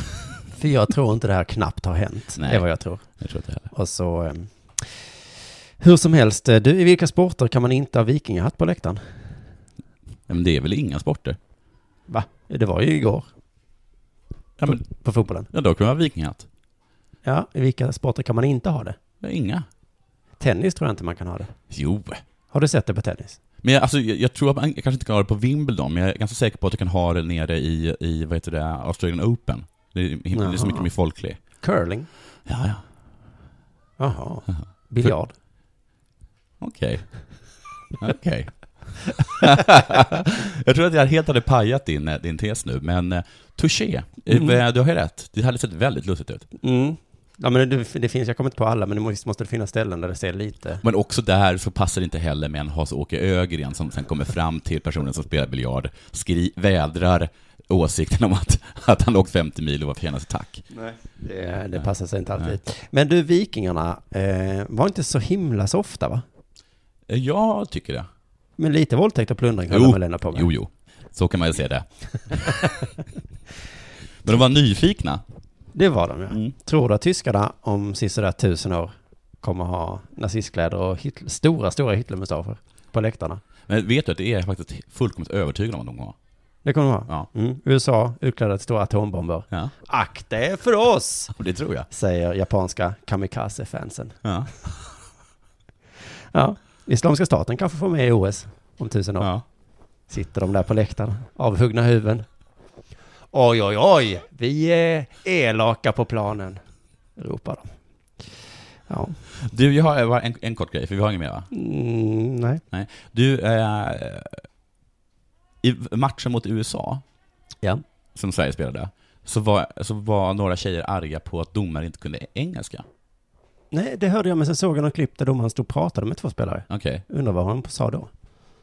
[SPEAKER 3] För jag tror inte det här knappt har hänt.
[SPEAKER 4] Nej.
[SPEAKER 3] Det är vad jag tror.
[SPEAKER 4] jag tror inte heller.
[SPEAKER 3] Och så... Eh, hur som helst, eh, du, i vilka sporter kan man inte ha vikingahatt på läktaren?
[SPEAKER 4] Ja, Men det är väl inga sporter?
[SPEAKER 3] Va? Det var ju igår
[SPEAKER 4] Ja, men,
[SPEAKER 3] på fotbollen.
[SPEAKER 4] ja då kan man ha vikingahatt.
[SPEAKER 3] Ja, i vilka sporter kan man inte ha det?
[SPEAKER 4] Ja, inga.
[SPEAKER 3] Tennis tror jag inte man kan ha det.
[SPEAKER 4] Jo.
[SPEAKER 3] Har du sett det på tennis?
[SPEAKER 4] Men jag, alltså, jag, jag tror att man, jag kanske inte kan ha det på Wimbledon, men jag är ganska säker på att jag kan ha det nere i, i vad heter det, Australian Open. Det är, him- det är så
[SPEAKER 3] Jaha.
[SPEAKER 4] mycket mer folklig.
[SPEAKER 3] Curling?
[SPEAKER 4] Ja, ja.
[SPEAKER 3] Jaha. Biljard?
[SPEAKER 4] Okej. Okej. jag tror att jag helt hade pajat din, eh, din tes nu, men eh, touché. Eh, Du har ju rätt. Det hade sett väldigt lustigt ut.
[SPEAKER 3] Mm. Ja, men det, det finns, jag kommer inte på alla, men det må- visst måste det finnas ställen där det ser lite...
[SPEAKER 4] Men också där så passar det inte heller med en Hans-Åke Ögren som sen kommer fram till personen som spelar biljard, skri- vädrar åsikten om att, att han åkt 50 mil och var förtjänad sitt tack.
[SPEAKER 3] Det, det passar sig inte alltid. Men du, vikingarna eh, var inte så himla så ofta va?
[SPEAKER 4] Eh, Jag tycker det.
[SPEAKER 3] Men lite våldtäkt och plundring höll de väl ändå på med?
[SPEAKER 4] jo, jo. Så kan man ju se det. Men de var nyfikna.
[SPEAKER 3] Det var de ja.
[SPEAKER 4] Mm.
[SPEAKER 3] Tror du att tyskarna om sisådär tusen år kommer ha nazistkläder och Hitler, stora, stora Hitlermustascher på läktarna?
[SPEAKER 4] Men vet du att det är jag faktiskt fullkomligt övertygad om att de har.
[SPEAKER 3] Det kommer de ha.
[SPEAKER 4] Ja.
[SPEAKER 3] Mm. USA utklädda till stora atombomber.
[SPEAKER 4] Ja,
[SPEAKER 3] Akta er för oss!
[SPEAKER 4] det tror jag.
[SPEAKER 3] Säger japanska kamikaze-fansen.
[SPEAKER 4] Ja.
[SPEAKER 3] Ja, Islamiska staten kanske får med i OS om tusen år.
[SPEAKER 4] Ja.
[SPEAKER 3] Sitter de där på läktaren, avhuggna huvuden. Oj, oj, oj, vi är elaka på planen, ropar de. Ja,
[SPEAKER 4] Du, jag har eh, bara en, en kort grej, för vi har inget mer va?
[SPEAKER 3] mm, nej.
[SPEAKER 4] Nej. Du, eh, i matchen mot USA,
[SPEAKER 3] Ja.
[SPEAKER 4] som Sverige spelade, så var, så var några tjejer arga på att domare inte kunde engelska.
[SPEAKER 3] Nej, det hörde jag, men sen såg jag något klipp där domaren stod och pratade med två spelare.
[SPEAKER 4] Okej,
[SPEAKER 3] Undrar vad hon sa då.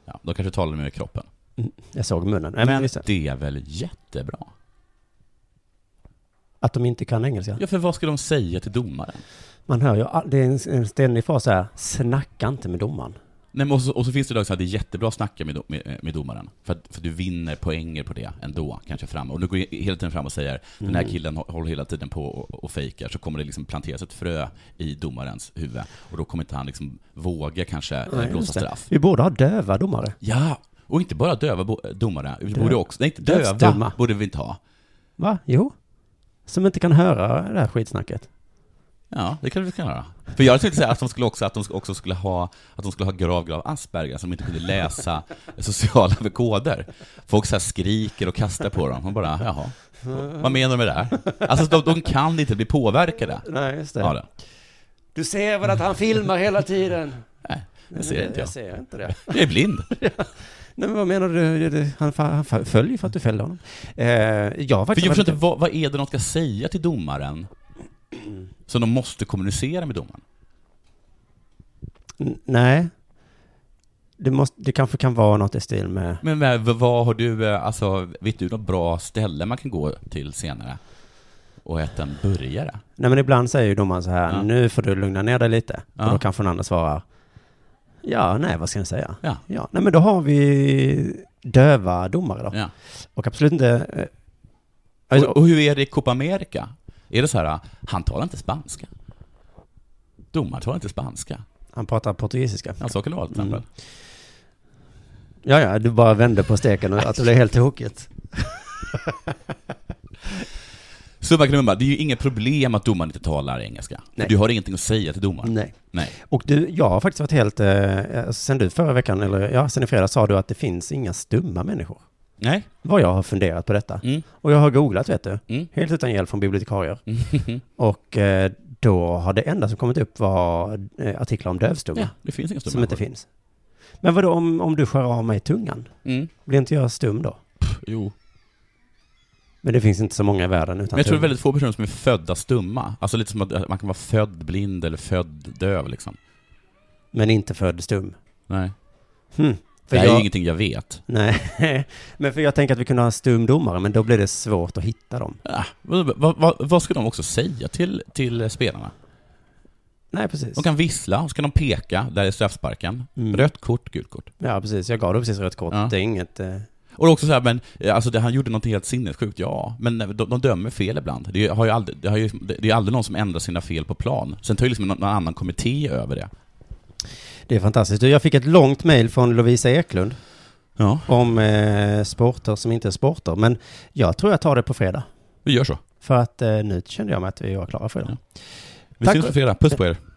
[SPEAKER 4] ja, de kanske talade med kroppen.
[SPEAKER 3] Mm, jag såg munnen. Nej, men,
[SPEAKER 4] Men
[SPEAKER 3] visst,
[SPEAKER 4] det är väl jättebra?
[SPEAKER 3] att de inte kan engelska.
[SPEAKER 4] Ja, för vad ska de säga till domaren?
[SPEAKER 3] Man hör ju, all- det är en, en ständig fas så här, snacka inte med domaren.
[SPEAKER 4] Nej, men och, så, och så finns det idag så här, det är jättebra att snacka med, do- med, med domaren, för att, för att du vinner poänger på det ändå, kanske fram. Och du går he- hela tiden fram och säger, den
[SPEAKER 3] Mm.
[SPEAKER 4] här killen hå- håller hela tiden på och, och fejkar, så kommer det liksom planteras ett frö i domarens huvud, och då kommer inte han liksom våga kanske eh, blåsa
[SPEAKER 3] Just det.
[SPEAKER 4] straff.
[SPEAKER 3] Vi borde ha döva domare.
[SPEAKER 4] Ja, och inte bara döva bo- eh, domare, vi borde också, nej inte döva
[SPEAKER 3] Dövstumma.
[SPEAKER 4] borde vi inte ha.
[SPEAKER 3] Va? Jo. Som inte kan höra det här skitsnacket.
[SPEAKER 4] Ja, det kanske vi kan göra. För jag tänkte säga att de skulle också, att de sk- också skulle ha, att de skulle ha grav, grav Asperger som inte kunde läsa sociala koder. Folk så här skriker och kastar på dem. Man bara, jaha, vad menar de med det här? Alltså, de, de kan inte bli påverkade
[SPEAKER 3] Nej, just
[SPEAKER 4] av det.
[SPEAKER 3] Du ser väl att han filmar hela tiden?
[SPEAKER 4] Nej, det ser inte jag.
[SPEAKER 3] Jag ser inte det.
[SPEAKER 4] Jag är blind.
[SPEAKER 3] Nej, men vad menar du? Det- Han, fa- han fa- följer för att du fällde honom. Eh, jag
[SPEAKER 4] För
[SPEAKER 3] faktiskt...
[SPEAKER 4] jag förstår inte, vad, vad är det de ska säga till domaren som de måste kommunicera med domaren?
[SPEAKER 3] N- Nej. Det, måste, det kanske kan vara något i stil med...
[SPEAKER 4] Men men, v- vad har du, eh, alltså, vet du något bra ställe man kan gå till senare och äta en burgare?
[SPEAKER 3] Nej, men ibland säger ju domaren så här,
[SPEAKER 4] Ja.
[SPEAKER 3] nu får du lugna ner dig lite.
[SPEAKER 4] Ja.
[SPEAKER 3] Och då kanske den andra svarar, ja, nej, vad ska jag säga?
[SPEAKER 4] Ja.
[SPEAKER 3] Ja, nej, men då har vi döva domare då.
[SPEAKER 4] Ja. Alltså,
[SPEAKER 3] Och absolut inte... eh, Alltså-
[SPEAKER 4] Och, och hur är det i Copa America? Är det så här, han talar inte spanska? Domaren talar inte spanska.
[SPEAKER 3] han pratar portugisiska.
[SPEAKER 4] Alltså, kan det vara till
[SPEAKER 3] Mm.
[SPEAKER 4] exempel.
[SPEAKER 3] Ja, ja, du bara vände på steken och att det blev helt tokigt.
[SPEAKER 4] Summan bara, det är ju inget problem att domaren inte talar engelska.
[SPEAKER 3] Nej.
[SPEAKER 4] Du har ingenting att säga till domaren.
[SPEAKER 3] Nej.
[SPEAKER 4] Nej.
[SPEAKER 3] Och du, jag har faktiskt varit helt, eh, sen du förra veckan, eller ja, sen i fredags sa du att det finns inga stumma människor.
[SPEAKER 4] Nej.
[SPEAKER 3] Vad jag har funderat på detta.
[SPEAKER 4] Mm.
[SPEAKER 3] Och jag har googlat, vet du.
[SPEAKER 4] Mm.
[SPEAKER 3] Helt utan hjälp från bibliotekarier. Och eh, då har det enda som kommit upp var eh, artiklar om dövstumma.
[SPEAKER 4] Ja, det finns inga stumma
[SPEAKER 3] som inte
[SPEAKER 4] människor.
[SPEAKER 3] finns. Men vadå om, om du skär av mig tungan?
[SPEAKER 4] Mm.
[SPEAKER 3] Blir inte jag stum då?
[SPEAKER 4] Jo.
[SPEAKER 3] Men det finns inte så många i världen utan
[SPEAKER 4] Men jag tror det är
[SPEAKER 3] tunga.
[SPEAKER 4] väldigt få personer som är födda stumma. Alltså lite som att man kan vara född blind eller född döv liksom.
[SPEAKER 3] Men inte född stum.
[SPEAKER 4] Nej.
[SPEAKER 3] Hm.
[SPEAKER 4] Det
[SPEAKER 3] För
[SPEAKER 4] här är ju
[SPEAKER 3] jag,
[SPEAKER 4] ingenting jag vet.
[SPEAKER 3] nej, men för jag tänker att vi kunde ha en stum domare, men då blir det svårt att hitta dem.
[SPEAKER 4] Ah, vad, vad, vad, vad ska de också säga till, till spelarna?
[SPEAKER 3] Nej, precis.
[SPEAKER 4] De kan vissla, och så kan de peka, där är straffsparken.
[SPEAKER 3] Mm.
[SPEAKER 4] Rött kort, gult kort.
[SPEAKER 3] Ja, precis. Jag gav dig precis rött kort.
[SPEAKER 4] Ja.
[SPEAKER 3] Det är inget... Eh...
[SPEAKER 4] Och också så här, men eh, alltså det, han gjorde något helt sinnessjukt, ja. Men de, de dömer fel ibland. Det, har ju aldrig, det, har ju, det är aldrig någon som ändrar sina fel på plan. Sen tar ju liksom någon, någon annan kommitté över det.
[SPEAKER 3] Det är fantastiskt. Du, Jag fick ett långt mejl från Lovisa Eklund
[SPEAKER 4] Ja,
[SPEAKER 3] om eh, sporter som inte är sporter. Men jag tror jag tar det på fredag.
[SPEAKER 4] vi gör så.
[SPEAKER 3] För att eh, nu kände jag mig att vi var klara för idag.
[SPEAKER 4] Ja. Vi
[SPEAKER 3] Tack-
[SPEAKER 4] ses på fredag. Puss på er.